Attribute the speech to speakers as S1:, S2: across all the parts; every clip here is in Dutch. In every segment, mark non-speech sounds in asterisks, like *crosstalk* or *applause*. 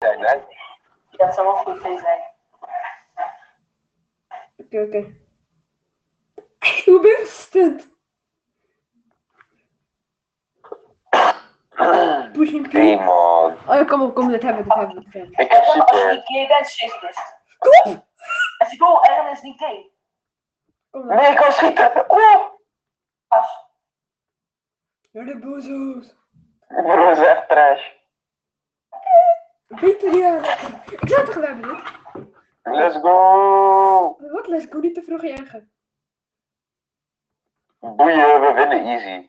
S1: Nag.
S2: Yeah, someone who says that.
S3: Oké, oké. *laughs* Hoe bent het? Pushing
S1: Nee,
S3: through.
S1: man.
S3: Oh ja, kom op, kom, dit hebben we, dit hebben we, dit hebben we.
S1: Ik heb
S2: En dan als je
S1: super.
S2: niet gay bent, shit is.
S3: Kom!
S2: Als je gewoon Aaron is niet gay.
S3: Kom dan.
S1: Nee, ik kan schieten. Oeh!
S2: Als
S3: Naar de boezoes.
S1: Die broer is echt trash.
S3: Beter ja. Ik zou het gedaan hebben.
S1: Let's go!
S3: Wat les, ik niet te vroeg jagen.
S1: Boeien, we winnen easy.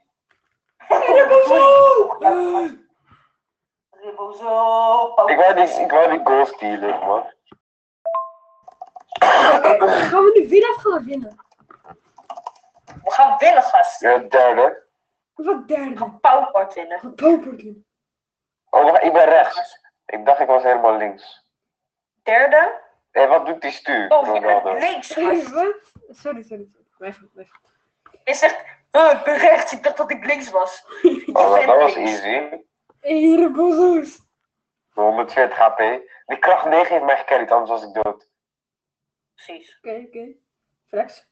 S3: Naar de boezoes!
S2: Ribbel zo.
S1: Ik wou die, ik wou die goal stealen, man.
S3: Oké, gaan we nu winnen of gaan we winnen?
S2: We gaan winnen, gast.
S1: Ja, derde.
S3: Wat derde?
S2: Powerport winnen.
S3: Wat paupertje.
S1: Oh, wacht, ik ben rechts. Ik dacht ik was helemaal links.
S2: Derde.
S1: Hé, wat doet die stuur?
S2: Oh, je bent
S1: Ronaldo?
S2: links,
S3: Sorry,
S2: gast.
S3: wat? Sorry, sorry. sorry. Mijn fout, mijn fout.
S2: Je zegt, eh, ik ben rechts. Ik dacht dat ik links was. Ik
S1: Oh, dat
S2: ben
S1: was
S2: links.
S1: easy.
S3: Hé, de boezoes.
S1: 140 HP. Die kracht 9 heeft mij gecarried, anders was ik dood.
S2: Precies.
S3: Oké, oké. Flex.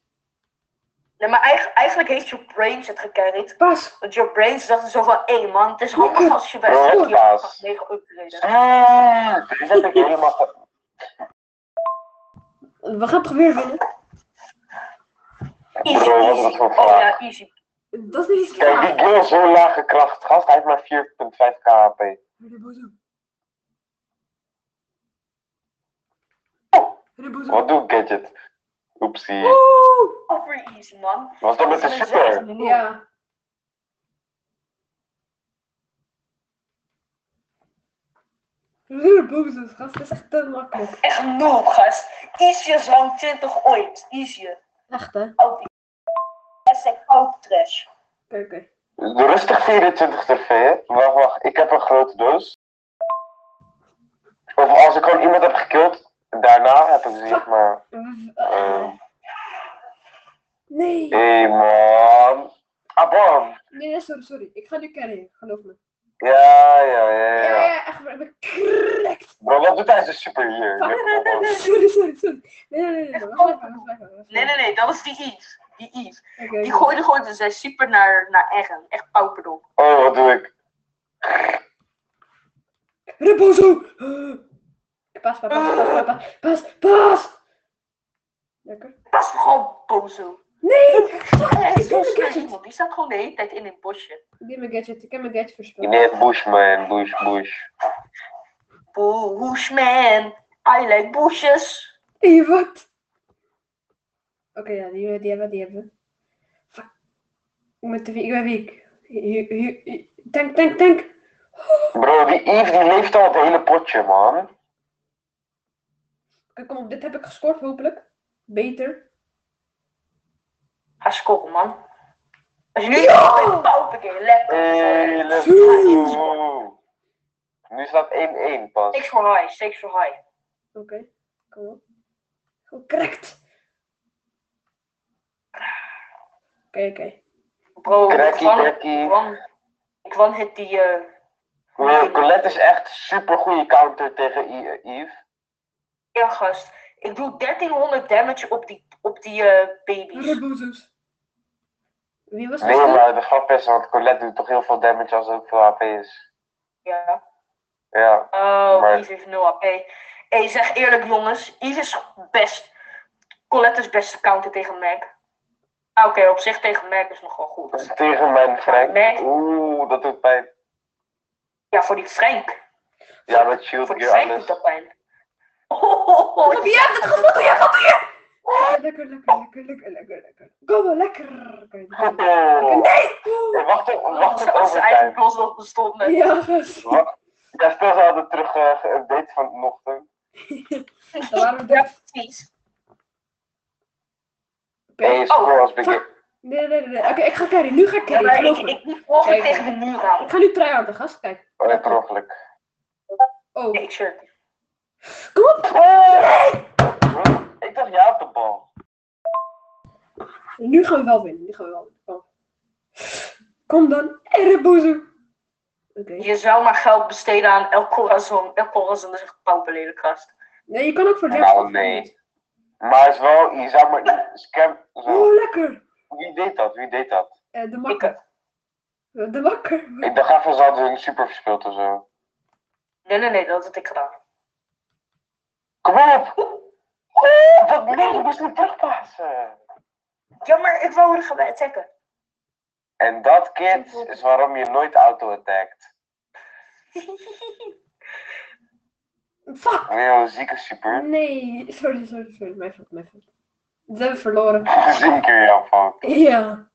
S2: Nee, maar eigenlijk, eigenlijk heeft je brains het gecarried.
S3: Pas.
S2: Want je brains dachten zo van, hé man, het is
S3: Oké.
S2: handig als je bij
S1: Ja,
S2: Snoopy
S1: baas.
S2: gaat negen upgraden.
S1: Ah, die zet ik helemaal... ge-
S3: We gaan toch weer winnen?
S2: Easy,
S1: Bro, wat was
S2: easy.
S1: voor
S2: Oh
S1: vraag?
S2: ja, easy.
S3: Dat is niet
S1: Kijk,
S3: klaar.
S1: die girl zo'n lage kracht. Gast, hij heeft maar 4.5k HP.
S3: Rebozo.
S1: Oh.
S3: Rebozo.
S1: Wat doe ik, Gadget? Oepsie.
S3: Oeh!
S2: Over easy, man.
S1: Was dat met de super?
S2: Ja.
S3: Ja. Rebozo, gast, dat is echt te makkelijk.
S2: Echt noob, gast. Easy is rang 20 ooit. Easy.
S3: Echt, hè? Oké,
S2: Oud. Hashtag oud trash.
S3: oké.
S1: Rustig 24 trofee, hè? Wacht, wacht. Ik heb een grote doos. Of als ik gewoon iemand heb gekild, daarna heb ik zeg maar... eh,
S3: Nee.
S1: Hé, man. Ah, Abon.
S3: Nee, sorry, sorry. Ik ga nu carryen, geloof me.
S1: Ja, ja, ja,
S3: Ja, ja,
S1: ja.
S3: ja echt, maar ik ben correct.
S1: Bro, wat doet hij zijn super hier?
S3: *laughs* Sorry, sorry, sorry. Nee, nee, nee, nee. Wacht even, wacht even, wacht even.
S2: Nee, nee, nee, dat was die Yves. Die Yves.
S3: Oké,
S2: Die
S3: oké.
S2: gooide gewoon dus zijn super naar, naar Eggen. Echt pauperdom.
S1: Oh, wat doe ik?
S3: Rebozo! Pas, pas, pas, pas, pas, Ah! pas, pas! Lekker.
S2: Dat is gewoon bozo.
S3: Nee!
S2: Echt
S3: Ik
S2: zo'n
S3: heb mijn
S2: slecht
S3: gadget.
S2: iemand. Die staat gewoon de hele tijd in een bosje.
S3: Ik heb mijn gadget, ik heb mijn gadget verspild.
S1: Nee, Bush, man. Bush, Bush.
S2: Bushman. I like bushes.
S3: Hé, wat? Oké, ja, die, die hebben we, die hebben we. Fuck. Ik ben te wie- ik ben weak. Hier- hier- hier- Tank, tank, tank!
S1: Bro, die Eve die leeft al het hele potje, man.
S3: Oké, kom op, dit heb ik gescoord, hopelijk. Beter.
S2: Ga scoren, man. Als je nu ja! bent, pauperkeer. Lekker.
S1: Hey, let's
S3: Oeh.
S1: go. Nu staat 1-1 pas.
S2: Six for high. Six for high.
S3: Oké, kom op. Gewoon correct! Oké, oké.
S2: Bro,
S1: Cracky,
S2: Kwan,
S1: cracky.
S2: Kwan, Kwan hit die... eh,
S1: Bro, Colette is echt super goede counter tegen I- eh, Eve.
S2: Ja, gast. Ik doe 1300 damage op die, op die eh, baby's.
S3: Rebozo's. Wie was
S1: Nee,
S3: dat?
S1: maar de grap is, want Colette doet toch heel veel damage als er ook veel HP is.
S2: Ja.
S1: Ja.
S2: Oh,
S1: Maar-
S2: Yves heeft 0 AP. Hé, zeg eerlijk jongens. Yves is best... Colette's beste counter tegen Mac. Ah, Oké, op zich tegen Mac is nog wel
S1: Dat is
S2: goed.
S1: tegen mijn Frank.
S2: Nee.
S1: Oeh, dat doet pijn.
S2: Ja, voor die Frank.
S1: Ja, dat shield
S2: Voor die
S1: hier
S2: Frank doet
S1: alles.
S2: dat pijn. *laughs* Oh, oh, oh,
S3: Wie hebt het gevonden? Ja, wat doe je? Lekker, lekker, lekker, lekker, lekker, lekker. Kom maar, lekker. Oké, lekker.
S1: Oh.
S3: Nee!
S1: Hey, Wacht op, wacht op
S2: Dat is eigenlijk
S1: overtime.
S2: los op bestonden.
S3: Ja, gast.
S1: Wat? Ja, stel ze hadden terug eh, geüpdate vanochtend.
S3: Dan waren we
S2: Ja,
S3: er.
S2: precies.
S1: Hey,
S3: Oké.
S2: Oh.
S1: score als begin.
S3: fuck. Nee, nee, nee. nee. Oké, ik ga carry. Nu ga ik
S2: Ja,
S3: carry.
S2: maar
S3: Geloof
S2: ik,
S3: me.
S2: ik moet morgen
S3: Kijk.
S2: tegen de muur aan.
S3: Ik ga nu tryharden, gast. Kijk.
S1: Oh, ja, per ongeluk.
S3: Oh.
S2: Nee, shirt.
S3: Kom op.
S1: Bro, Ik dacht ja op de bal.
S3: Oh. Nu gaan we wel winnen. Nu gaan we wel winnen. Kom, Kom dan. Erebozo. Oké.
S2: Je zou maar geld besteden aan El Corazon. El Corazon is echt een pauperlelijk gast.
S3: Nee, je kan ook voor
S1: Nou,
S3: Jackson.
S1: nee. Maar het is wel, je zou maar, scam, zo.
S3: Oh, lekker.
S1: Wie deed dat? Wie deed dat?
S3: Eh, de
S2: Ik,
S3: makker. De makker.
S1: Ik dacht even, ze hadden een super verspeeld of zo.
S2: nee, nee, nee, dat had ik gedaan.
S1: Kom op! Oh, dat, nee, je moest niet terugpassen.
S2: Ja, maar ik wou er gaan attacken.
S1: En dat, kids, is waarom je nooit auto-attackt.
S3: Fuck.
S1: Weer een zieke super.
S3: Ah,
S1: *laughs*
S3: Nee, sorry, sorry, sorry. Mijn fout, mijn fout. Ze hebben verloren.
S1: Zin keer jouw fout.
S3: Ja.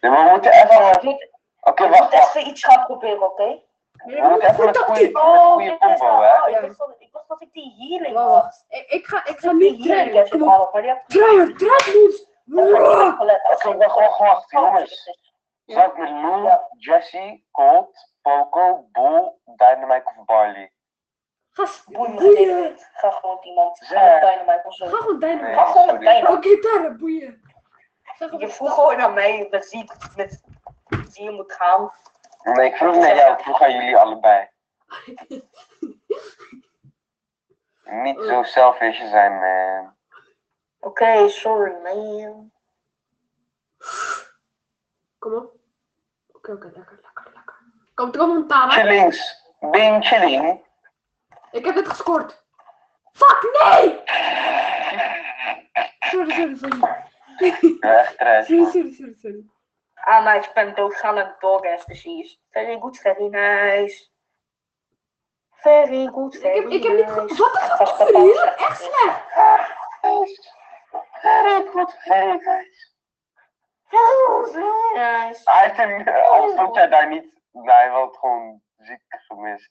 S1: Nee, maar we moeten even...
S2: Ik moet,
S1: Oké,
S2: ik moet
S1: wacht, wacht.
S2: even iets gaan proberen, oké?
S3: Nee, maar
S1: Even
S3: goed
S1: een
S3: tactiek.
S1: goeie-
S2: Oh,
S1: Goeie
S2: dit is
S1: combo,
S2: wel.
S1: hè?
S2: oh, ik
S3: Ja.
S2: dacht dat- Ik dacht dat ik die healing
S3: Wacht,
S2: had.
S3: wacht. Ik, ik ga, ik ga
S2: Dat
S3: nu
S2: die healing heb
S3: trainen. Kom op.
S2: gehaald, maar die heb
S3: Trainer, train moves. Wow.
S1: Oké, wacht, wacht, wacht, jongens. Zat met Lou, Jesse, Colt, Poco, Bull, Dynamite of Barley.
S3: Gast,
S2: Boeien me dit
S3: boeien.
S2: niet. Ga gewoon iemand
S1: Zeg.
S2: aan de dynamite of zo.
S3: Ga gewoon
S1: Nee,
S3: Dynamite.
S2: Ga gewoon met
S1: sorry.
S2: dynamite.
S3: Oh, gitaren, boeien. Zeg
S2: Je
S3: gewoon-
S2: vroeg gewoon naar mij, je bent ziek, met zie je moet gaan.
S1: Nee, ik vroeg naar jou, ik vroeg aan jullie allebei. Niet zo selfish zijn, eh. man.
S2: Oké, sorry man.
S3: Kom op. Oké, oké, lekker, lekker, lekker. Kom, kom op, Tara.
S1: Chillings, being chilling.
S3: Ik heb dit gescoord. Fuck, nee! Sorry, sorry, sorry. *laughs*
S1: Ja, echt trash.
S3: Sorry,
S1: man.
S3: sorry, sorry, sorry.
S2: Anna, Ah, ik ben doodgaan aan Borges, precies. Very good, very nice. Very good,
S3: Ik
S2: very
S3: heb, ik heb niet
S2: nice.
S3: goed. Wat een
S2: Oh,
S3: gevoel, jullie zijn echt slecht.
S1: Very good, very nice.
S2: Very, very nice.
S1: Hij heeft hem, eh, als vond jij daar niet, nou, hij had het gewoon ziek gemist.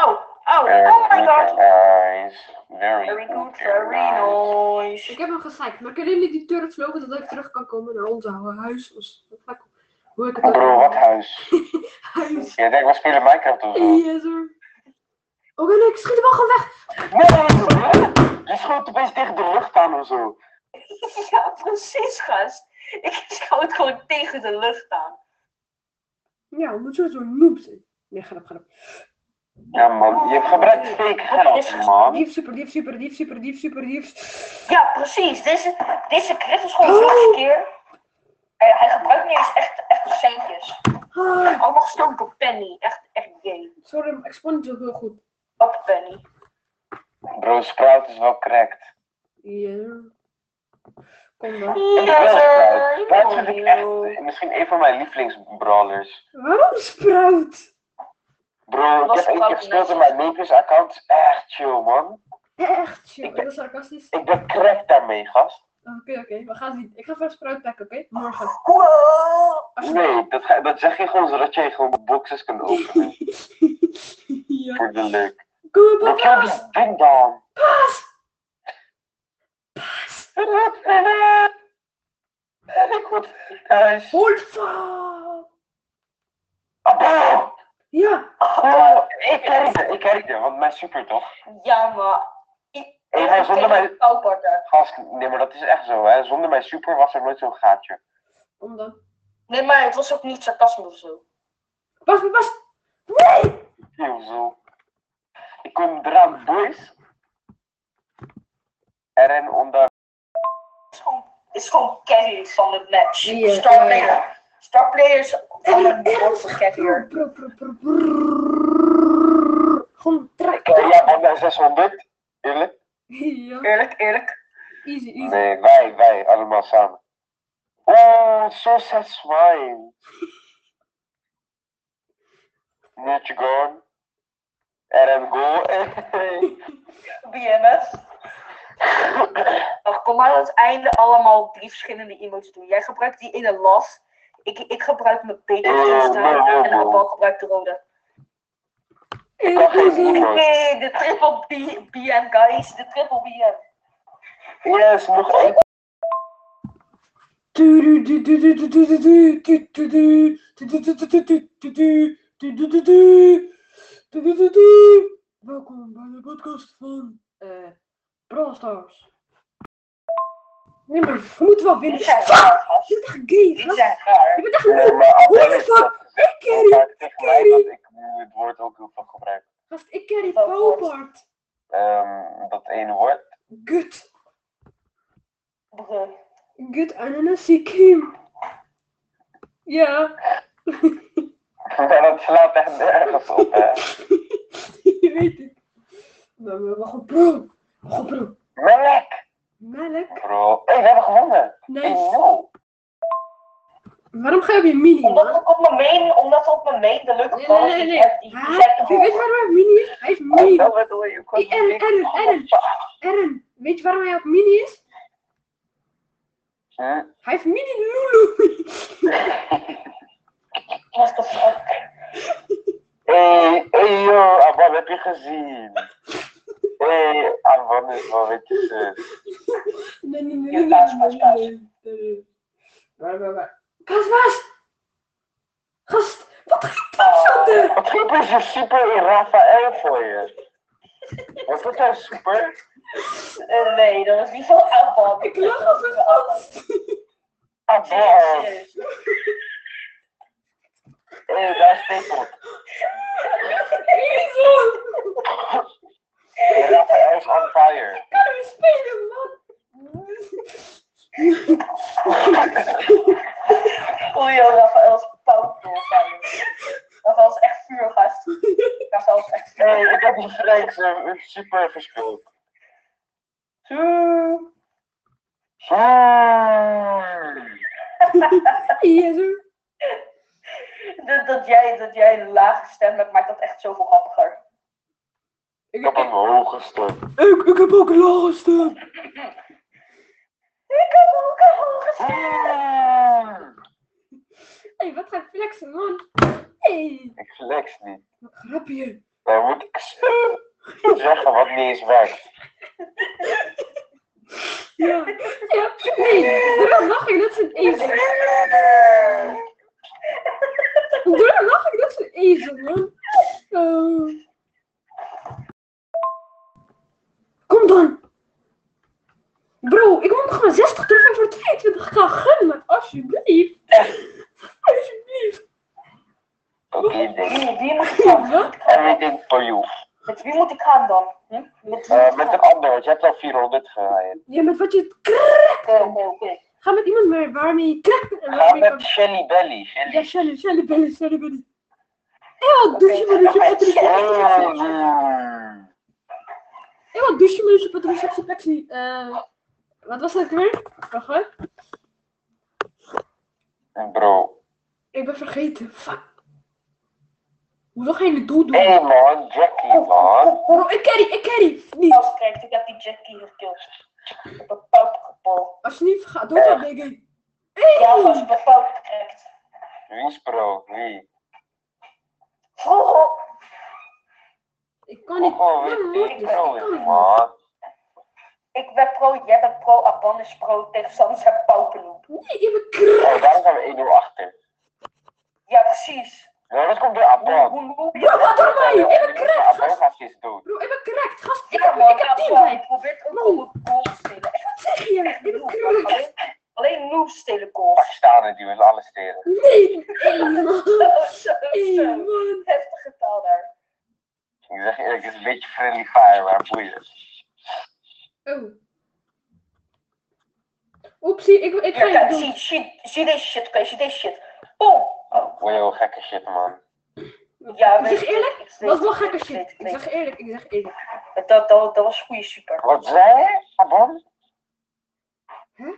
S2: Oh, oh,
S1: Very
S2: oh my
S1: good,
S2: god.
S1: very nice. eh, Very,
S2: Very good,
S1: very
S2: very
S1: nice.
S2: nice.
S3: Ik heb hem gezeikt, maar kunnen jullie die turret slopen zodat ik terug kan komen naar ons oude huis? Of- Wat ga ik- Hoe ik het ook
S1: Bro, wat huis?
S3: Huis.
S1: Jij denkt, we spelen Minecraft of zo?
S3: Yes, hoor. Oké, nee, ik schiet hem al gewoon weg.
S1: Nee, je schoot opeens tegen de lucht aan of zo.
S2: Ja, precies, gast. Ik schoot gewoon tegen de lucht aan.
S3: Ja, we moeten zo'n noob zijn. Nee, ga op, ga op.
S1: Ja man, je gebruikt fake geld man.
S3: Dief, super, dief, super, dief, super, dief, super, dief.
S2: Ja, precies. Deze, deze crit is gewoon
S3: Oh.
S2: vorige keer. Hij, hij gebruikt niet eens echt, echt centjes.
S3: Ah,
S2: Allemaal gestoken door Penny. Echt, echt gay.
S3: sorry, maar ik spon het ook heel goed.
S2: Op Penny.
S1: Bro, Sprout is wel cracked.
S3: Ja. Kom dan.
S1: Ik wil Sprout.
S2: Oh,
S1: Dat vind ik echt misschien een van mijn lievelingsbrawlers.
S3: Waarom Sprout?
S1: Bro, ik heb één keer gespeeld in mijn Lakers account. Is Echt chill man.
S3: Echt, joh. Ik ben sarcastisch.
S1: Ik ben cracked daarmee gast.
S3: Oké, oké, we gaan zien. Ik ga voor Sprout pakken, oké? Morgen. *laughs*
S2: Wow.
S3: Als je-
S1: Nee, dat, ga, dat zeg je gewoon zodat jij gewoon boxes kunt openen.
S3: ja.
S1: Voor de leuk.
S3: Kom op,
S1: Wat jou
S3: paas!
S1: die ding dan?
S3: Paas! Paas!
S1: Ik word thuis.
S3: Holfa!
S1: Ah,
S3: Ja,
S1: Oh, ik kijk het, ik kijk het, want mijn super toch?
S2: Ja, maar... Ik
S1: Hé, maar zonder mijn
S2: mijn...
S1: gast, nee, maar dat is echt zo, hè? Zonder mijn super was er nooit zo'n gaatje.
S3: kom dan.
S2: Nee, maar het was ook niet sarcasme of zo.
S3: Pas, pas, pas!
S1: Heel zo. Ik kom eraan, boys. En ren onder.
S2: Het is gewoon, het is gewoon carry van het match.
S3: Ja,
S2: Star
S3: ja.
S2: player. Star player is van
S3: En
S2: het woord voor carrier.
S3: Bro, bro, bro, bro, bro. Gewoon trek.
S1: Ja, van mijn 600. Eerlijk?
S3: Ja,
S2: Eerlijk, eerlijk.
S3: easy, easy.
S1: Nee, wij, wij, allemaal samen. Oh, so satisfying. Need you gone. RM go. *laughs*
S2: BMF. Ach, kom maar aan het einde allemaal drie verschillende emoties doen. Jij gebruikt die ene laf. Ik, ik gebruik mijn beker
S1: Oh,
S2: instaan.
S1: oh, oh,
S2: En Abal
S1: oh.
S2: gebruikt de rode.
S3: Ik
S1: kan geen emoji.
S2: Nee, de triple B, BM, guys. De triple BM.
S1: Yes, nog één.
S3: Welkom bij de podcast van eh Brawl Stars. Nee, maar we moeten wel winnen.
S2: Dit zijn
S3: Fuck!
S2: raar, gast.
S3: Je bent echt gay,
S2: Dit
S3: gast.
S2: zijn raar.
S3: Je bent echt
S1: Nee,
S3: moe.
S1: maar
S3: Hoe
S1: Adele
S3: de
S1: is dat
S3: fuck? Ik carry.
S1: altijd tegen mij
S3: Carrie.
S1: dat ik nu het woord ook heel veel gebruik.
S3: Gast, ik carry
S2: Dat woord.
S3: Bobart.
S1: Ehm, dat ene woord. *laughs*
S3: Gut.
S2: Brug.
S3: Gut ananasi cream. Ja. *laughs*
S1: Maar dat slaat echt nergens op, hè.
S3: Je weet het. Maar maar wacht op, bro. Wacht op, bro.
S1: Melk!
S3: Melk.
S1: Bro. Hé, we hebben gewonnen!
S3: Nice.
S1: 1-0.
S3: Waarom ga je op je mini,
S2: Omdat
S3: man?
S2: ik op mijn main, omdat op mijn main de leuke
S3: Nee,
S2: vrouw
S3: nee,
S2: die
S3: nee. Ah,
S2: heeft- die- die
S3: Ha?
S2: zijn te
S3: Je weet
S2: hoog.
S3: waarom hij op mini is? Hij heeft mini.
S1: Dat bedoel je. ik was
S3: Hey, Ellen,
S1: niet-
S3: Ellen, Ellen. Eren, weet je waarom hij op mini is?
S1: Hm?
S3: Hij heeft mini Lulu. *laughs*
S2: What the fuck?
S1: Hé, hé joh, Abban, heb je gezien? Hé, Abban is wel weer je zus.
S3: Nee, nee, nee,
S2: Ja,
S3: nee,
S2: paas,
S3: nee,
S2: paas, paas.
S3: nee, nee, nee. Waar, waar, waar? Paas, paas! Gast, wat ga je doen?
S1: Wat geeft is een super in Rafael voor je? Was dat nou super?
S2: Eh, Nee, dat is niet van afval.
S3: Ik lach als een gast. *laughs*
S1: Abban, hé, daar is Stapel.
S3: Jezus!
S1: Rafael is on fire.
S3: Kunnen we spelen, man?
S2: Oei, oh, Rafael is pauw doorgaan. Rafael is echt vuurgast. Rafael is echt
S1: Hé, ik heb die Frenks eh, super verspeeld.
S2: vuur.
S1: Hmm.
S3: Jezus.
S2: Dat, dat, jij, dat jij een lage stem hebt, maakt dat echt zoveel grappiger.
S3: Ik,
S1: Ik heb een
S3: ik,
S1: hoge stem.
S3: ik, ik heb ook een lage stem.
S2: Ik heb ook een hoge stem.
S3: Ah!
S1: Hmm.
S3: Hé, hey, wat ga je flexen, man? Hé, hey,
S1: Ik flex niet.
S3: wat grapje.
S1: Dan moet ik *laughs* zeggen wat niet eens werkt.
S3: Ja, ja. Nee, daarom lach ik, dat is een ezel. Daarom lach ik, dat is een ezel, man. Oh. Kom dan. Bro, ik moet nog maar 60 treffen voor 22 gaan gun me, alsjeblieft. Alsjeblieft.
S1: Oké, ding.
S2: Wie, wie moet ik gaan? Wie moet ik gaan dan?
S1: Everything for you.
S2: Met wie moet ik gaan dan? Hm? Met wie moet ik
S1: Eh, met een
S2: gaan?
S1: ander, want je hebt al 400 gereden.
S3: Ja, met wat je...
S2: Oké, oké, oké.
S3: Ga met iemand maar waarmee je trekt en
S1: Ga
S3: waarmee je
S1: met Shelly Belly. Shelly.
S3: Ja, Shelly, Shelly, Belly, Shelly, Belly. Ewa, douche, douche, Patricia, Patricia.
S1: Mm.
S3: Ewa, douche, douche, Patricia, Patricia, Patricia. Eh, Wat was dat ook weer? Wacht hoor.
S1: Bro.
S3: Ik ben vergeten. Fuck. Hoezo ga je het doel doen?
S1: Hey man, Jackie man.
S3: Bro, ik carry, ik carry. Niet.
S2: Als krijgt, ik heb die Jackie gekild. Ik heb een pauw gepol.
S3: Als je niet gaat, doe dat, denk ik.
S2: Ja, als ik een pauw krijgt.
S1: Wie is bro? Wie?
S2: Vroeger.
S3: Ik kan niet.
S1: Oh,
S3: Ja,
S1: wie
S3: moet
S1: wie
S3: ik.
S1: bro
S3: Ik kan
S1: is
S3: niet.
S1: man?
S2: Ik ben pro, jij bent pro, Aban is pro, tegenstanders zijn pauwpeloep.
S3: Nee, ik ben krrr.
S1: Oh, daarom zijn we 1-0 achter.
S2: Ja, precies.
S1: Ja, dat komt door
S2: Hoe,
S1: Abban.
S2: hoe, hoe-
S3: Bro, wat door mij? Ik ben correct,
S1: Abban
S3: gast.
S1: gaat iets doen.
S3: Bro, ik ben correct, gast. Ik
S2: Ja,
S3: heb,
S2: man,
S3: ik heb teamwijd.
S2: Aban probeert ook
S3: Man.
S2: om het goal te stelen. Echt
S3: Wat zeg je? Ik ben
S2: noob.
S3: correct.
S2: Alleen- Alleen noobs stelen goals.
S1: Pakistanen die willen alles stelen.
S3: Nee. Hey, man.
S2: *laughs* Zo,
S3: Hey,
S2: zo.
S3: man.
S2: Heftige taal daar.
S1: Ik zeg je eerlijk, het is een beetje friendly fire, maar boeien.
S3: Oh. Oepsie, ik, ik ga
S2: Ja,
S3: het
S2: kijk,
S3: doen.
S2: zie, zie, zie deze shit, oké, zie deze shit. Boom!
S1: Boeien, heel gekke shit man.
S2: Ja,
S3: ik
S2: weet
S3: zeg
S2: ik, ik
S3: eerlijk,
S2: weet
S3: dat was wel
S2: het,
S3: gekke
S2: ik weet
S3: shit.
S2: het, ik
S3: Ik
S2: weet
S3: zeg eerlijk, ik zeg eerlijk.
S2: het. Dat, dat, dat was goede super.
S1: Wat zei je, Abon?
S3: Huh?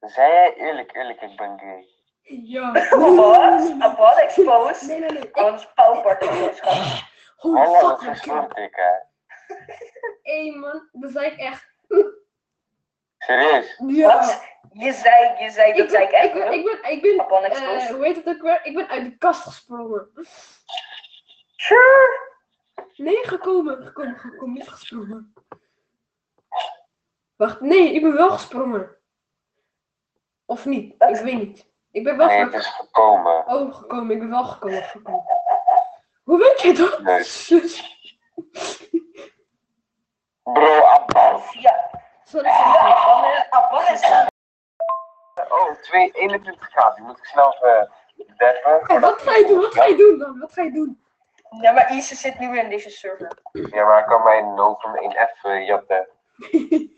S1: Zei jij eerlijk, eerlijk, ik ben gay.
S3: Ja.
S2: *laughs* Wat? Aban exposed?
S3: Nee, nee, nee. Ik,
S2: Aban is pauwpartij, schat.
S3: holy
S1: Oh, dat
S3: fuck,
S1: is
S3: ik heb-
S1: een ik hè.
S3: Hé man, dat zei ik echt.
S1: Serieus?
S2: Wat? Je zei, je zei,
S3: Ik
S2: dat zei ik
S3: ben, ik
S2: echt.
S3: ben,
S2: hoor.
S3: ik ben, ik ben
S2: Aban
S3: eh,
S2: exposed.
S3: hoe heet het ook weer? Ik ben uit de kast gesprongen.
S2: Sure.
S3: Nee, gekomen, gekomen, gekomen, niet gesprongen. Wacht, nee, ik ben wel gesprongen. Of niet, ik weet niet. Ik ben wel
S1: Eh. Nee, het
S3: gek-
S1: is gekomen.
S3: Oh, gekomen, ik ben wel gekomen. gekomen. Hoe weet je dat?
S1: Nee.
S3: Zus.
S1: Bro, Abban.
S2: Ja,
S3: Sorry, sorry, sorry.
S4: Dan is Afghanistan.
S1: Oh, 221 graden. Moet ik snel eh deppen.
S3: Oh, wat ga je doen? Wat ga je doen dan? Wat ga je doen?
S2: Ja, maar Ise zit nu in deze server.
S1: Ja, maar ik kan mijn Novum 1F eh,
S3: *laughs*
S1: jatten.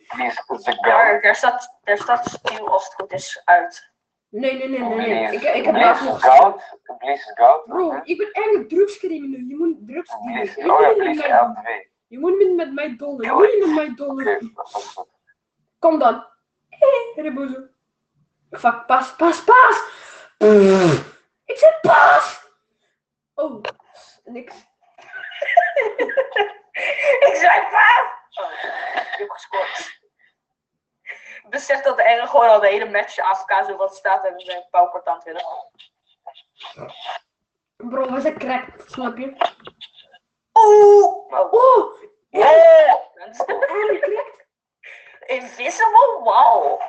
S1: Please, it's a girl.
S2: Daar, daar staat, daar staat stil als het goed is uit.
S3: Nee, nee, nee, nee. nee. Ik, ik
S1: Please,
S3: heb laatst nog
S1: please, goud. Please, goud.
S3: Bro, ik ben eigenlijk drugscrimineel. Je moet drugs doen.
S1: Please,
S3: Je
S1: oh ja,
S3: moet niet met
S1: please,
S3: mij,
S1: L2.
S3: je moet niet met mij dollen. Je moet niet met mij dollen.
S1: Oké, dat is goed.
S3: Kom dan. Hé, Rebozo. Fuck, pas, pas, pas! Ik zei pas! Oh, niks.
S2: Ik zei paas! Oh, ik heb gescoord. Besef dat de Engel gewoon al de hele match AFK zo wat staat en we zijn pauper aan het willen.
S3: Bro, was een crack, snap je?
S2: Oeh! Oh,
S3: Oh,
S1: Oh,
S3: aangekrikt?
S2: Invisible? Wow!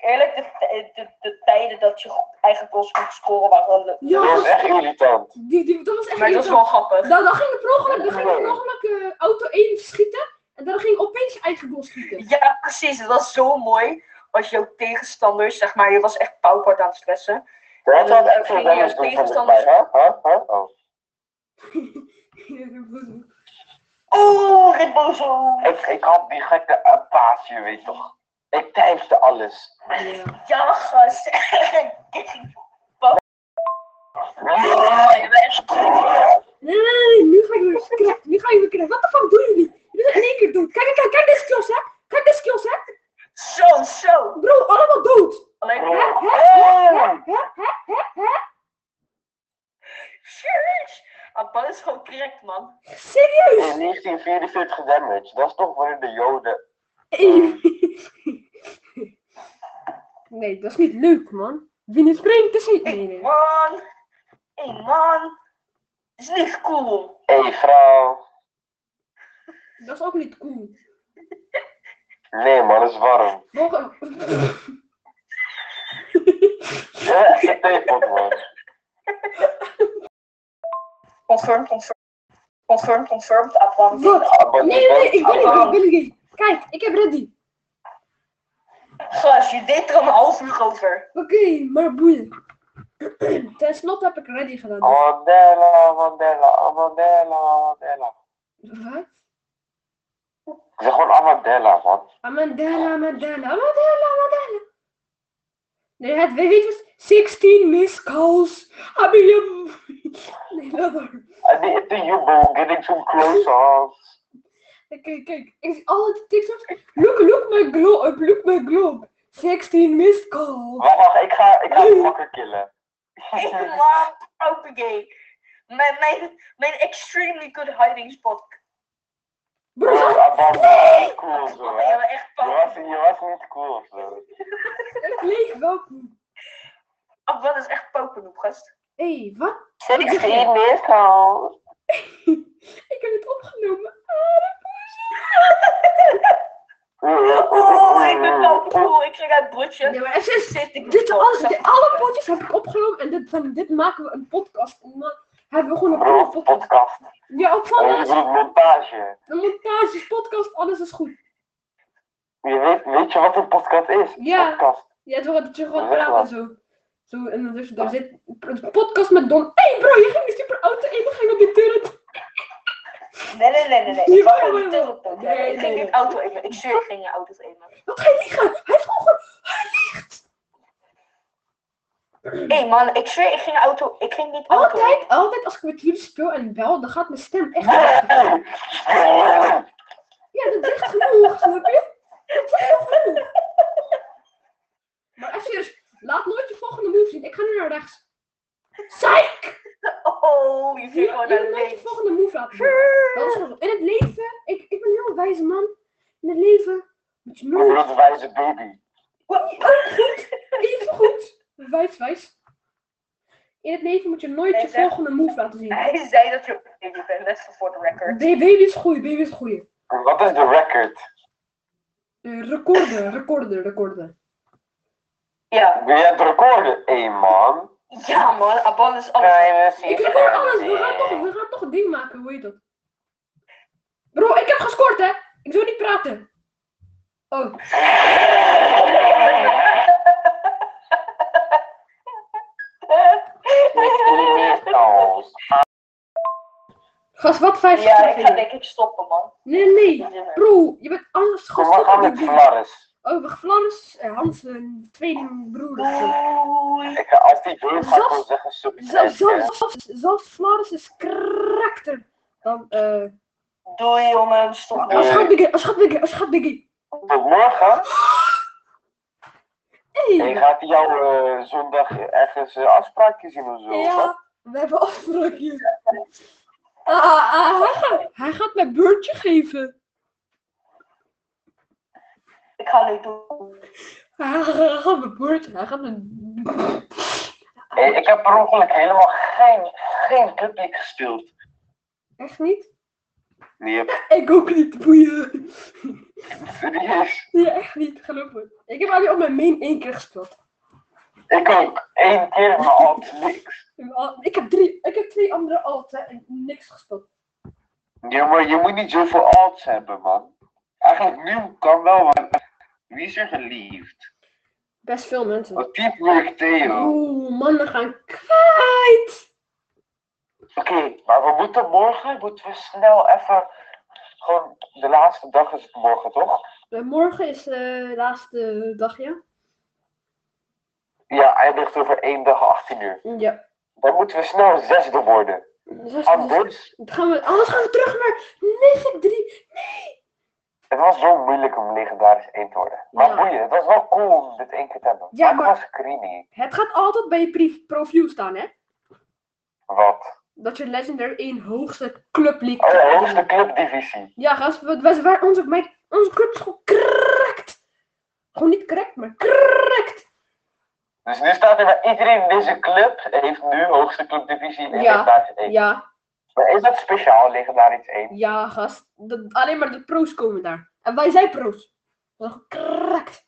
S4: Eerlijk, de, de, de, tijden dat je eigen goals moet scoren waren wel
S3: Ja,
S1: dat
S3: dat
S1: is
S3: was,
S1: echt irritant.
S3: die, die, dat was echt
S2: Maar dat is
S3: irritant.
S2: wel grappig.
S3: Dan, dan ging de per ongeluk, dan ging de per ongeluk eh, auto 1 schieten. En dan ging opeens je eigen goal schieten.
S2: Ja, precies. Het was zo mooi. Als jouw tegenstander, zeg maar, je was echt pauper aan het stressen.
S1: Dat had
S2: dan
S1: echt
S2: ging
S1: wel
S2: je
S1: damage doen van de
S2: tegenstanders-
S1: bij. Huh? Huh? Huh?
S4: Oeh,
S1: Oh.
S2: Oh,
S3: Rebozo.
S4: Ribbozo!
S1: Ik, ik had die gekke eh, paas, je weet toch. Ik timeste alles.
S3: Ja.
S4: Ja, gast.
S3: Nee, nee, nee, nu ga ik weer crack. Nu ga ik weer crack. Wat de fuck doen jullie? Jullie zijn in één keer dood. Kijk, kijk, kijk, deze skills, hè? Kijk, deze skills, hè?
S2: *laughs* Zo, zo!
S3: Bro, allemaal dood.
S2: Alleen,
S3: Hè, hè,
S1: Oh.
S3: hè, hè, hè, hè?
S2: serieus! Abban is gewoon correct, man.
S3: Serieus?
S1: In 1944 damage, dat is toch voor de Joden.
S3: Nee, dat is niet leuk, man. Wie niet springt, is niet... Nee, nee.
S2: Man! Hé, man! Is niet cool.
S1: Hé hey, vrouw.
S3: Dat is ook niet cool.
S1: Nee man, het is warm.
S3: Nog-
S1: Ja, echt een theepot man.
S4: Confirmed, confirmed. Confirmed, confirmed. Afghan.
S3: Wat?
S1: Abba-
S3: Nee, nee, nee, ik ben niet
S1: Abba-
S3: gay, ik ben niet gay. Kijk, ik heb ready.
S2: Gast, je deed er een half uur over.
S3: Oké, maar boeien. Ten slotte heb ik ready gedaan. dus-
S1: Mandela, Mandela, Amandela, Amandela.
S3: Wat?
S1: Ik zeg gewoon Amandela man.
S3: Amandela, Amandela, Amandela, Amandela. Nee, het weet je, 16 missed calls. Abiyam. Nee, laat maar.
S1: I need the jubel, getting some close-ups.
S3: Kijk, kijk, ik zie al die TikToks. Look, look my globe, look my globe. 16 missed calls.
S1: Wacht, wacht, ik ga, ik ga het makker killen.
S2: Hé, man! Pauper gay. Mijn, mijn, mijn extremely good hiding spot.
S3: Bro, dat
S1: Abandela, cool of zo
S2: Man,
S1: hè.
S2: je bent Oh, echt
S1: Je was,
S2: pauper.
S1: je was niet cool of zo.
S3: het leek wel goed.
S2: Abban is echt pauper, gast.
S3: Hé, hey, wat?
S1: Zit
S3: ik geen
S1: neerkomen?
S3: Ik heb het opgenomen.
S2: Oh, ik ben pauper cool. Ik ging uit Brutje.
S3: Nee, maar even
S2: Zit ik
S3: Dit alles,
S2: Zeg,
S3: dit- alle potjes heb ik opgenomen en dit, van dit maken we een podcast. En dan hebben we gewoon een
S1: Bro,
S3: coole podcast.
S1: podcast.
S3: Ja, ook van
S1: Oh, je
S3: alles.
S1: bedoelt montage.
S3: De montage, podcast, alles is goed.
S1: Je weet, weet je wat een podcast is?
S3: Ja.
S1: Podcast.
S3: Ja, toch dat je gewoon
S1: Dat is echt
S3: praat en zo. Zo, en dan dus, daar zit een podcast met Don. Hé hey bro, je ging die super auto in, dan ging op die turret.
S4: Nee, nee, nee, nee. nee.
S3: Hier
S4: Ik wou
S3: komen
S4: niet
S3: we.
S4: terug doen.
S3: Nee,
S2: Ik ging in auto even. Ik zweer, ik ging in auto even.
S3: Wat ga je liegen? Hij heeft gewoon ge- Hij liegt!
S2: Hé, man, ik zweer, ik ging auto. Ik ging niet auto.
S3: Altijd, altijd als ik met jullie speel en bel, dan gaat mijn stem echt... Ja, dat is echt genoeg, snap je? Dat is echt genoeg. Maar even serieus, laat nooit je volgende move zien. Ik ga nu naar rechts. Psych!
S2: Oh, je
S3: Je, je
S2: ging gewoon
S3: moet
S2: naar de
S3: nooit je
S2: links.
S3: volgende move laten zien. Dat is genoeg. In het leven, ik, ik ben een heel wijze man. In het leven moet je
S1: Je
S2: *laughs*
S3: nooit...
S1: bedoelt wijze baby.
S3: Even goed. Wijs, wijs. In het leven moet je nooit je
S4: Hij zegt-
S3: volgende move laten zien.
S4: Hij zei dat je een baby bent, let's for the record.
S3: Baby is goed, baby is goed.
S1: Wat is de record?
S3: Eh, recorden, recorden, recorden.
S2: Ja.
S1: Wil jij het recorden? Hé man.
S2: Ja, man, Abban is alles.
S1: Privacy.
S3: Ik record alles, we
S4: eh,
S3: gaan, toch, we gaan toch een ding maken, hoe heet dat? Bro, ik heb gescoord hè! Ik wil niet praten. Oh,
S1: Criminals.
S3: gast, wat vijf
S4: Ja, ik ga
S3: seconden?
S4: denk ik stoppen, man.
S3: Nee, nee. Bro, je bent anders
S1: Kom, we
S3: gast.
S1: gaan met Flarris.
S3: Oh, we Flores, eh, Hans, een tweede broer. of zo.
S4: Doei.
S1: Ik ga als die broer gaat gewoon zeggen,
S3: Zelf-
S1: super.
S3: zelf- zelf- Zelfs Flores is karakter. Dan, eh.
S4: Doei, jongen. Stop
S1: Ja.
S3: Als
S4: maar.
S3: gaat Biggie, als gaat Biggie, als gaat Biggie.
S1: Tot morgen. En
S3: Hey.
S1: gaat hij jou eh, zondag ergens eh, afspraakjes zien of zo? hè?
S3: Ja, we hebben afspraakjes. Ah, ah, ah, hij, gaat, hij gaat mij beurtje geven.
S4: Ik ga nu doen.
S3: Hij gaat mijn beurtje, hij gaat mijn...
S1: Hey, ik heb per ongeluk helemaal geen, geen Public gespeeld.
S3: Echt niet?
S1: Nee, heb-
S3: Ik ook niet, boeien.
S1: serieus.
S3: Nee, echt niet, geloof me. Ik heb alleen op mijn main één keer gespeeld.
S1: Ik ook. Eén keer, maar altijd niks.
S3: Ik heb, drie, ik heb twee andere alten en niks gespeeld.
S1: Ja, maar je moet niet zoveel alts hebben, man. Eigenlijk nu kan wel, maar wie is er geliefd?
S3: Best veel mensen.
S1: Wat diep werkt Theo?
S3: Oeh, mannen gaan kwijt.
S1: Oké, maar we moeten morgen, moeten we snel even, gewoon de laatste dag is het morgen, toch?
S3: Eh, Morgen is eh, de laatste dag, ja?
S1: Ja, hij ligt over één dag 18 uur.
S3: Ja.
S1: Dan moeten we snel zesde worden.
S3: Dus als-
S1: Anders,
S3: Dan gaan we, anders gaan we terug naar 93.
S1: het was zo moeilijk om legendarisch één te worden. Maar
S3: Ja.
S1: boeien, het was wel cool om dit één keer te hebben.
S3: Ja,
S1: maar het
S3: maar-
S1: was screening.
S3: Het gaat altijd bij je pri- profiel staan, hè?
S1: Wat?
S3: Dat je Legendary 1 hoogste club league.
S1: Oh, de hoogste clubdivisie.
S3: Ja, gast, we- we- waar onze, mijn, onze club is gewoon correct. Gewoon niet correct, maar correct.
S1: Dus nu staat er bij iedereen in deze club, heeft nu hoogste clubdivisie in
S3: Ja.
S1: legendarisch 1.
S3: Ja,
S1: Maar is dat speciaal, legendarisch 1?
S3: ja, gast. Dat, alleen maar de pro's komen daar. En wij zijn pro's. We zijn gewoon correct.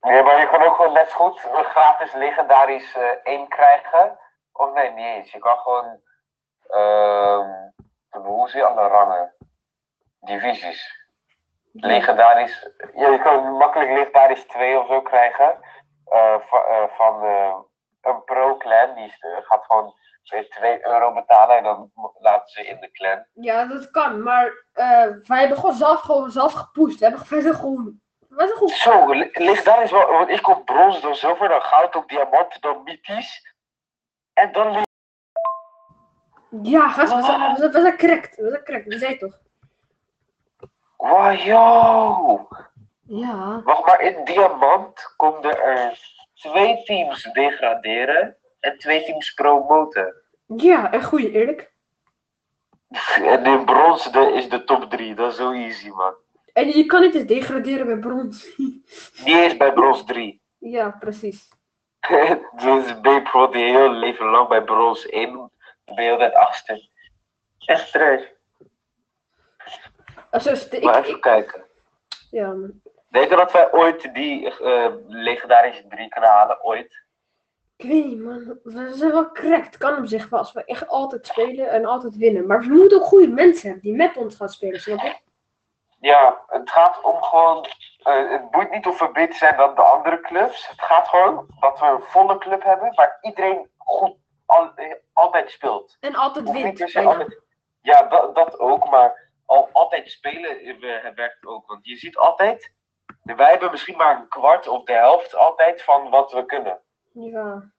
S1: Ja, maar je kan ook gewoon net zo goed een gratis legendarisch eh 1 krijgen. Of nee, niet eens. Je kan gewoon, ehm hoe zie je alle rangen? Divisies. legendarisch. Ja, je kan makkelijk legendarisch 2 of zo krijgen. eh, va- eh, van eh, een pro-clan. Die is, eh, gaat gewoon weer 2 euro betalen en dan mo- laten ze in de clan.
S3: Ja, dat kan, maar eh, wij hebben gewoon zelf, gewoon zelf gepusht. We hebben wij zijn gewoon. Wij zijn gewoon.
S1: Zo, le- legendarisch wel. Want ik kom brons, dan zilver, dan goud, dan diamant, dan mythisch. En dan le-
S3: Ja, gast, we zijn, we zijn, we zijn correct. We zijn correct, we zijn toch?
S1: Wow, yo!
S3: Ja.
S1: Wacht maar, in diamant konden er twee teams degraderen en twee teams promoten.
S3: Ja, en goeie, eerlijk.
S1: En in brons de, is de top 3, dat is zo easy man.
S3: En je kan niet eens degraderen bij brons. *laughs*
S1: Die is bij brons *laughs* 3.
S3: ja, precies.
S1: dus ben je bijvoorbeeld je heel leven lang bij brons 1, dan ben je altijd achtste. Echt terug.
S3: Als dus, de- ik,
S1: Maar even
S3: ik,
S1: kijken.
S3: ja, man.
S1: Denk je dat wij ooit die eh, legendarische 3 kunnen halen? Ooit?
S3: ik weet niet, man. We zijn wel correct. Kan op zich wel. Als we echt altijd spelen en altijd winnen. Maar we moeten ook goede mensen hebben die met ons gaan spelen, snap je?
S1: Ja, het gaat om gewoon. eh, het moet niet of we beter zijn dan de andere clubs. Het gaat gewoon dat we een volle club hebben waar iedereen goed al, eh, altijd speelt.
S3: En altijd
S1: Hoeft niet per
S3: wint.
S1: se
S3: bijna.
S1: altijd- Ja, dat, dat ook, maar al, altijd spelen eh, werkt ook. Want je ziet altijd, wij hebben misschien maar een kwart of de helft altijd van wat we kunnen.
S3: Ja.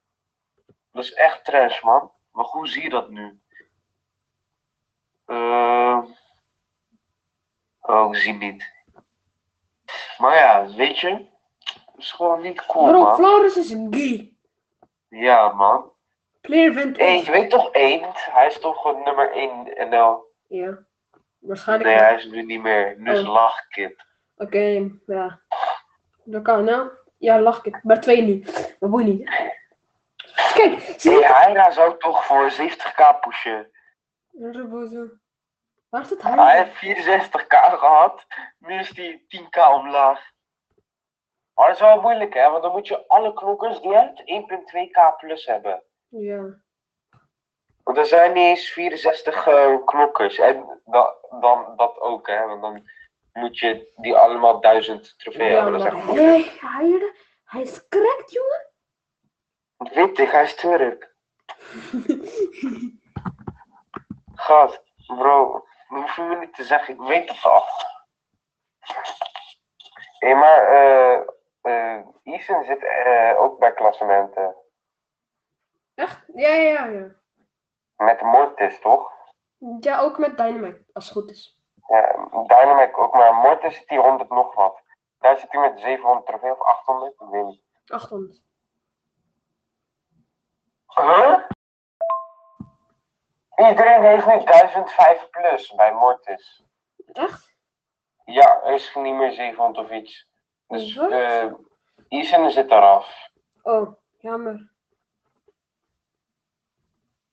S1: Dat is echt trash, man. Maar hoe zie je dat nu? Ehm, oh, ik zie niet. Maar ja, weet je, dat is gewoon niet cool,
S3: Bro,
S1: Oh, man.
S3: Flores is een gay.
S1: Ja, man.
S3: Player wint
S1: Hey,
S3: ons.
S1: je weet toch Eend? Hij is toch gewoon nummer 1 NL?
S3: Ja. Waarschijnlijk
S1: Nee,
S3: wel.
S1: hij is nu niet meer. Nu is
S3: Oh.
S1: lachkip.
S3: Oké, ja. Dat kan, nou. Ja, lach ik. Maar twee nu. Maar boeit niet. Kijk, zie
S1: Hey,
S3: je?
S1: Aira zou toch voor 70k pushen.
S3: Rebozo. Waar is het
S1: Hij
S3: haar?
S1: heeft 64k gehad, nu is hij 10k omlaag. Maar dat is wel moeilijk hè, want dan moet je alle knokkers die je hebt 1.2k plus hebben.
S3: Ja.
S1: Want er zijn niet eens 64 eh, knokkers. En da- dan dat ook hè, want dan moet je die allemaal duizend trofeeën
S3: Ja,
S1: hebben. Dat is
S3: maar
S1: echt moeilijk.
S3: hij, hij, hij is correct, jongen.
S1: Weet ik, hij is Turk. Gaat, bro, hoef je me niet te zeggen, ik weet het al. Hé, maar eh, eh, Isen zit eh, ook bij klassementen.
S3: Echt? Ja, ja, ja, ja.
S1: Met Mortis, toch?
S3: Ja, ook met Dynamite, als het goed is.
S1: Ja, Dynamic ook, maar Mortis zit hier 100 nog wat. Daar zit hij met 700 trofee of 800, ik weet niet.
S3: 800.
S1: Huh? Iedereen heeft nu 1005 plus bij Mortis.
S3: Echt?
S1: Ja, er is niet meer 700 of iets. Dus
S3: Wat?
S1: eh Isen zit eraf.
S3: Oh, jammer.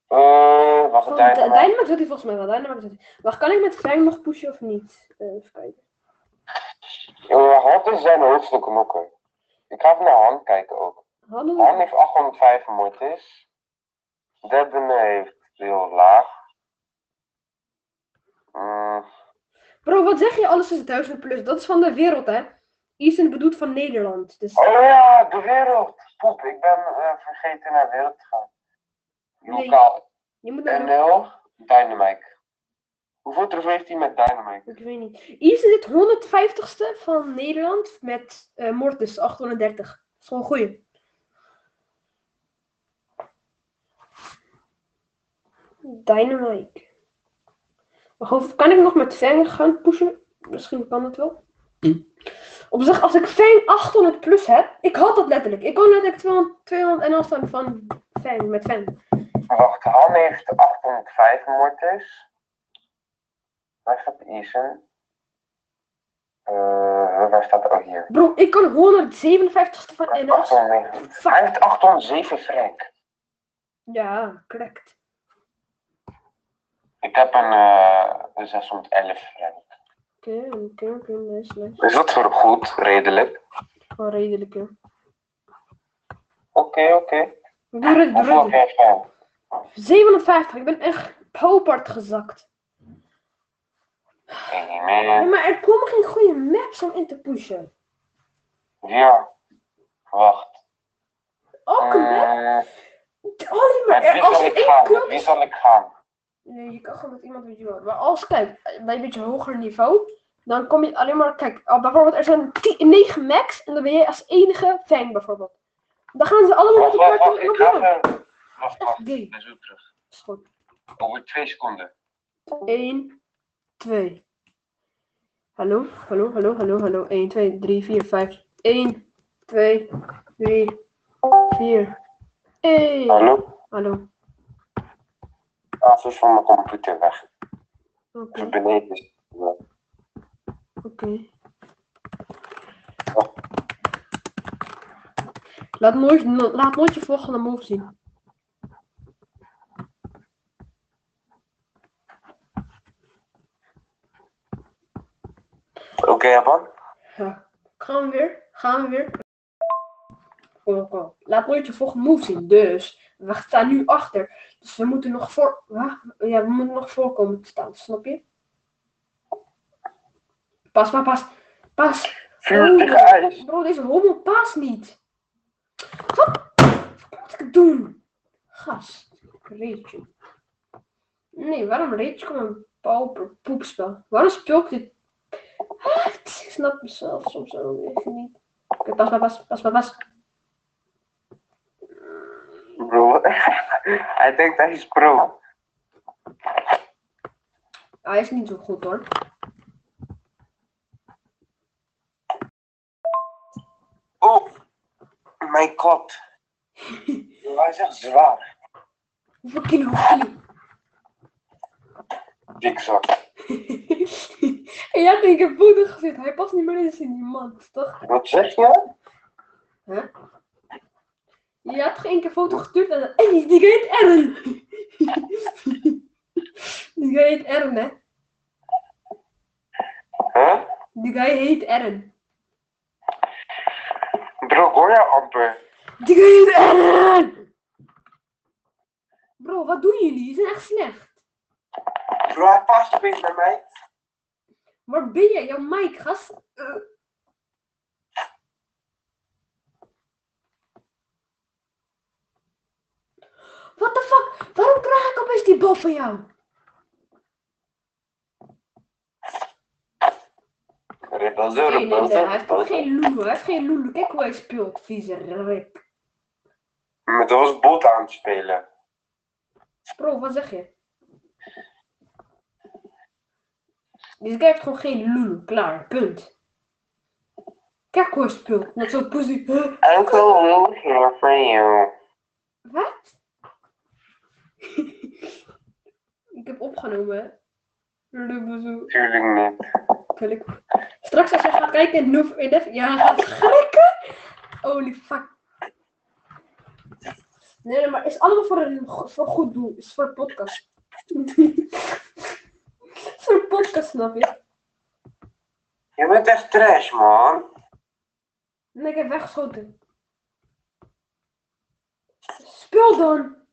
S1: Eh wacht,
S3: Oh,
S1: daar-
S3: Dy- Dynamite doet hij volgens mij wel. Dynamite doet hij. Wacht, kan ik met Klein nog pushen of niet? Eh, even kijken.
S1: Eh, Hand is zijn hoogste knokker. Ik ga even naar Han kijken ook. Han
S3: Hallo?
S1: heeft 805 mortis. Debben heeft heel laag. Mm,
S3: Bro, wat zeg je? Alles is 1000 plus. Dat is van de wereld, hè? Ethan bedoelt van Nederland. Dus...
S1: Oh ja, de wereld! Poep, ik ben eh, vergeten naar wereld te gaan.
S3: Nee.
S1: Lokaal
S3: Je moet naar
S1: NL, Dynamite. Hoeveel trofee heeft hij met Dynamite?
S3: Ik weet niet. Ethan zit 150ste van Nederland met eh, Mortis 830. Dat is gewoon een goeie. Dynamite. Wacht, of- kan ik nog met Fang gaan pushen? Misschien kan dat wel. Op zich, als ik Fang 800 plus heb, ik had dat letterlijk. Ik kon letterlijk 200, 200 en af staan van Fang, met Fang.
S1: Wacht, Han heeft 805 mortis. Waar staat Isen? Eh, waar staat ook hier?
S3: Bro, ik kan 157ste van
S1: Hij heeft
S3: NL.
S1: 809. Hij
S3: Fuck.
S1: heeft 807 frank.
S3: Ja, correct.
S1: Ik heb een eh 611 frank.
S3: Oké, oké, oké, nice, nice.
S1: Is dat voor goed, redelijk?
S3: Gewoon redelijk, hè.
S1: Oké, oké.
S3: Doe het,
S1: Hoeveel
S3: doe
S1: heb jij van?
S3: het. 57, ik ben echt paupert gezakt.
S1: Geen
S3: Nee,
S1: meer.
S3: maar er komen geen goede maps om in te pushen.
S1: Ja. Wacht.
S3: Ook een map?
S1: Eh,
S3: Oh, nee, maar
S1: met
S3: er,
S1: wie
S3: als
S1: zal
S3: er
S1: Eh, ik
S3: één
S1: gaan? Met wie
S3: knop...
S1: zal ik gaan?
S3: Nee, je kan gewoon met iemand met je wil. Maar als, kijk, bij een beetje hoger niveau, dan kom je alleen maar... Kijk, al bijvoorbeeld er zijn 10 9 max en dan ben jij als enige fan, bijvoorbeeld. Dan gaan ze allemaal met
S1: Wacht,
S3: elkaar
S1: wacht,
S3: door
S1: wacht. Ik ga
S3: elkaar.
S1: even- Wacht, wacht.
S3: Echt gay.
S1: Ik ben zo terug.
S3: Is goed.
S1: Over twee seconden.
S3: 1, 2. Hallo, hallo, hallo, hallo, hallo. 1, 2, 3, 4, 5. 1, 2, 3, 4. Hey. Hallo.
S1: Hallo? Ah, ze is van mijn computer weg.
S3: Oké,
S1: Ze beneden is.
S3: oké. Laat nooit, laat nooit je volgende move zien.
S1: Oké, Japan.
S3: Ja. Gaan we weer? Gaan we weer? Oh, oh, oh. Laat nooit je volgende move zien. Dus, we staan nu achter. Dus we moeten nog voor... Wa- Ja, we moeten nog voor komen te staan. Snap je? Pas, maar pas. Pas.
S1: Vuur tegen ijs.
S3: Bro, deze hommel past niet. Wat? Wat moet ik doen? Gast. Reetje. Nee, waarom reetje komt een pauper poepspel? Waarom speel ik dit? Ah, Ik snap mezelf soms ook echt niet. Oké, pas maar, pas, pas maar, pas.
S1: Bro, *laughs* hij denkt hij is pro.
S3: Ah, Hij is niet zo goed hoor.
S1: Oh, mijn god. *laughs* Hij is echt zwaar.
S3: Hoeveel kilo? *laughs* Hoeveel
S1: Dikzak.
S3: kilo? en jij denkt, ik heb boete gezet. Hij past niet meer eens in die man, toch?
S1: Wat zeg je?
S3: Je had geen één keer foto gestuurd en *laughs* en die, die heet Ern. *laughs* die guy heet Ern, hè?
S1: Huh?
S3: Die guy heet Ern.
S1: Bro, ik hoor jou amper.
S3: Die guy heet Ern! Bro, wat doen jullie? Je zijn echt slecht.
S1: Bro, hij past opeens bij mij.
S3: Waar ben je? Jouw mic, gast. Eh. What the fuck? Waarom krijg ik opeens die bal van jou? Geen idee, hij heeft
S1: Ribbelzurrebelzurrebelzur.
S3: ook geen loelu. Hij heeft geen loelu. Kijk hoe hij speelt, vieze rip.
S1: Maar dat was bot aan het spelen.
S3: Bro, wat zeg je? Deze guy heeft gewoon geen loelu. Klaar, punt. Kijk hoe hij speelt. Net zo'n poesie. Huh?
S1: Uncle Lou here for you.
S3: Wat? ik heb opgenomen, hè? Lubbezoe.
S1: Tuurlijk niet.
S3: Wil ik- Straks als je gaat kijken in Noof in Def- Ja, gaat schrikken. Holy fuck. Nee, nee, maar is allemaal voor een go- voor goed doel. Is voor een podcast. *laughs* is voor een podcast, snap je?
S1: Je bent echt trash, man.
S3: Nee, ik heb weggeschoten. Speel dan.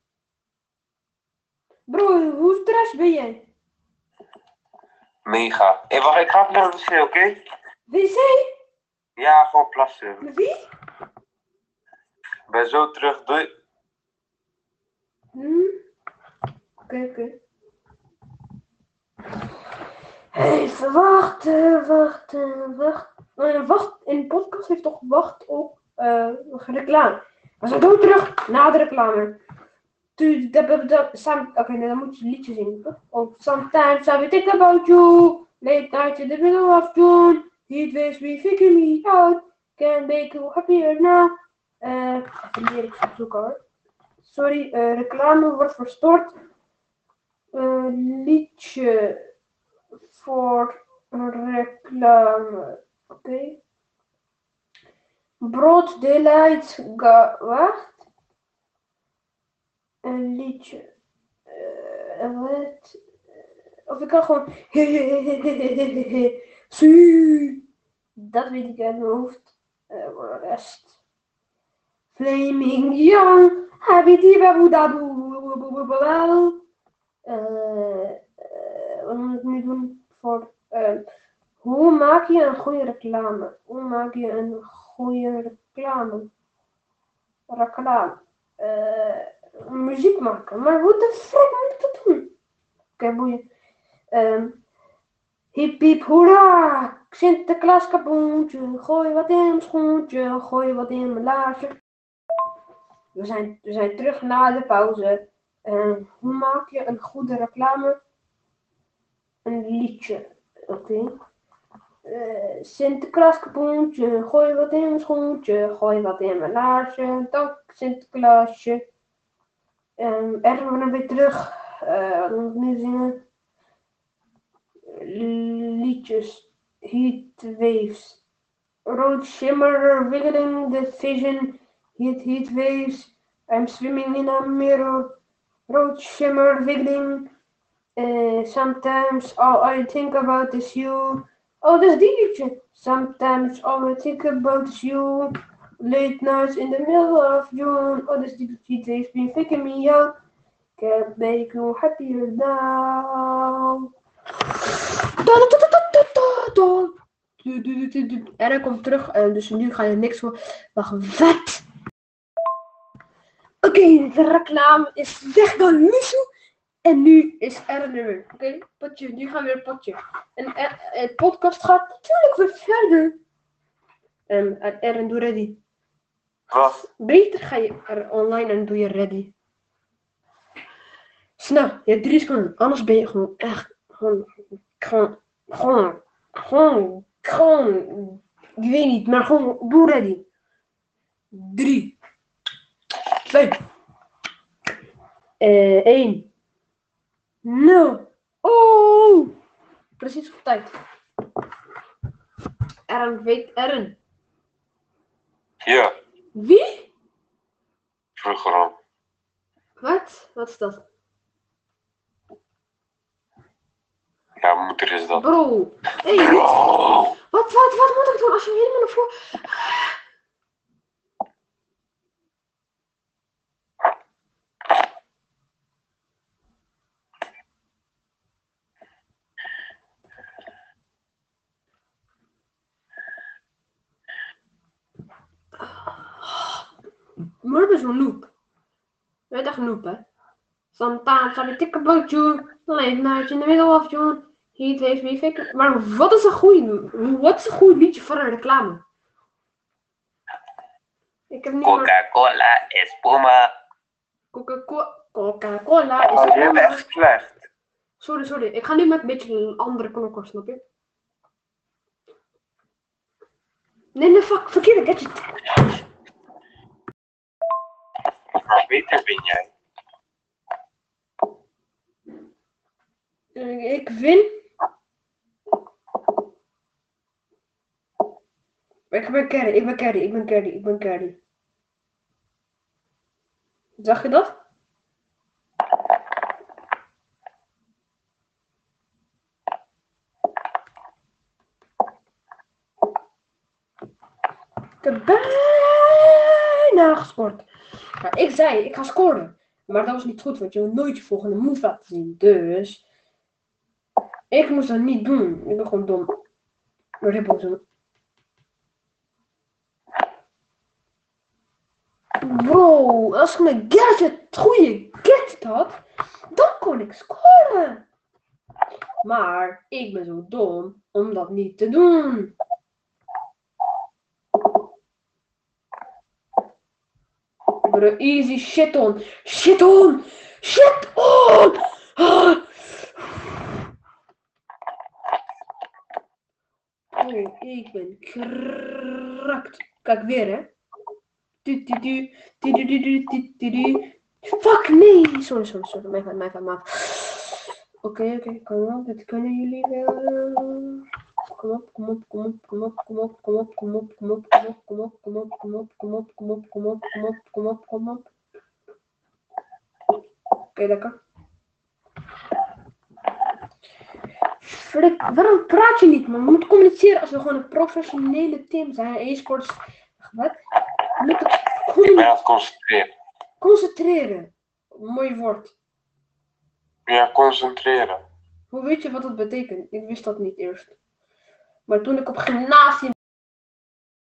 S3: Bro, hoe trash ben jij?
S1: Mega. Hé, wacht, ik ga plassen misschien, oké?
S3: Wc?
S1: Ja, gewoon plassen.
S3: Met wie?
S1: Ik ben zo terug. Doei.
S3: Hm? Oké, oké. Even wachten, wachten, wacht. Eh, wacht, in de podcast heeft toch wacht op eh, reclame. We zijn dood terug na de reclame. Tu- da- da- da- some- Oké, nee, dan moet je een liedje zingen. toch? Of sometimes I will think about you. Late night in the middle of June. Heat waves be figuring me out. Can make you happier now. Eh, even leren zoeken hoor. Sorry, eh, reclame wordt verstoord. Eh, liedje voor reclame. Oké. Brood delight. Ga, wacht. Een liedje. Eh, wat? Eh, Of ik kan gewoon. *laughs* Su. Dat weet ik uit mijn hoofd. Eh, voor de rest. Flaming Young. Habiti Babudabu. Eh, eh, Wat moet ik nu doen voor. eh, hoe maak je een goede reclame? Hoe maak je een goede reclame? Reclame. Eh, muziek maken. Maar hoe de fuck moet ik dat doen? Oké, boeien. Ehm hip hip hoera! Sinterklaas kapoentje. Gooi wat in mijn schoentje. Gooi wat in mijn laarsje. We zijn, we zijn terug na de pauze. En hoe maak je een goede reclame? Een liedje. Oké. Eh, Sinterklaas kapoentje, gooi wat in mijn schoentje, gooi wat in mijn laarsje. Dank Sinterklaasje. En er we dan weer terug. Eh, wat moet ik nu zingen? Liedjes. Heat waves. Rood shimmer, wiggling the vision. Heat, heat waves. I'm swimming in a mirror. Road shimmer wiggling. Eh, sometimes all I think about is you. Oh, dat is die liedje. Sometimes all I think about is you. Late nights in the middle of June. Oh, dat is die liedje. Heat waves been picking me up. Can't make you happier now. Da, da, da, da, da, da, da. Du, du, du, du, du. En hij komt terug, eh, dus nu ga je niks horen. Wacht, wat? Oké, de reclame is weg dan Misu. En nu is er een nummer. Oké, potje. Nu gaan we weer potje. En eh, het podcast gaat natuurlijk weer verder. En eh, Erin, doe ready.
S1: Wat?
S3: Beter ga je er online en doe je ready. Snel, je hebt drie seconden. Anders ben je gewoon echt. Gewoon. Gewoon. Gewoon. Gewoon. gewoon ik weet niet, maar gewoon. Doe ready. Drie. Twee. Eh, één. Nul. Oh! Precies op tijd. Ern, weet Ern.
S1: Ja,
S3: Wie?
S1: vroeger al.
S3: Wat? Wat is dat?
S1: Ja, mijn moeder is dat.
S3: Bro, hey, wat,
S1: Bro!
S3: wat, wat, wat moet ik doen als je helemaal naar voren... Murp is een noob. Je bent echt een noob, hè? Sometimes I be thick about you. Late night in the middle of June. Heat waves me fake. Maar wat is een goeie, wat is een goed liedje voor een reclame? Ik heb niet van
S1: Coca-Cola is Puma.
S3: Coca-Cola. Coca-Cola is
S1: Oh, je bent
S3: een
S1: echt slecht.
S3: Sorry, sorry. Ik ga nu met een beetje een andere knokker, snap je? Nee, nee, fuck. Verkeerde gadget.
S1: Maar beter ben jij.
S3: Eh, Ik win. Ik ben carry, ik ben carry, ik ben carry, ik ben carry. Zag je dat? Ik heb bijna gescoord. Ja, ik zei, ik ga scoren. Maar dat was niet goed, want je wil nooit je volgende move laten zien. Dus... Ik moest dat niet doen. Ik ben gewoon dom. Ribbel doen. Bro, als ik mijn gadget, het goede gadget had, dan kon ik scoren. Maar ik ben zo dom om dat niet te doen. Bro, easy shit on. Shit on! Shit on! Ah. Oh, ik ben krakt. Kijk weer, hè. Du, du, du, du, du, du, du, du, du, du. Fuck, nee. Sorry, sorry, sorry. Mijn fout, mijn fout, mijn fout. Oké, oké, kom op. Dit kunnen jullie wel. Kom op, kom op, kom op, kom op, kom op, kom op, kom op, kom op, kom op, kom op, kom op, kom op, kom op, kom op, kom op, kom op, kom op, kom op. Oké, lekker. Frik, waarom praat je niet, man? We moeten communiceren als we gewoon een professionele team zijn. E-sports, wat? We moeten
S1: Ik ben
S3: commu-
S1: aan het concentreren.
S3: concentreren. Mooi woord.
S1: Ja, concentreren.
S3: Hoe weet je wat dat betekent? Ik wist dat niet eerst. Maar toen ik op gymnasium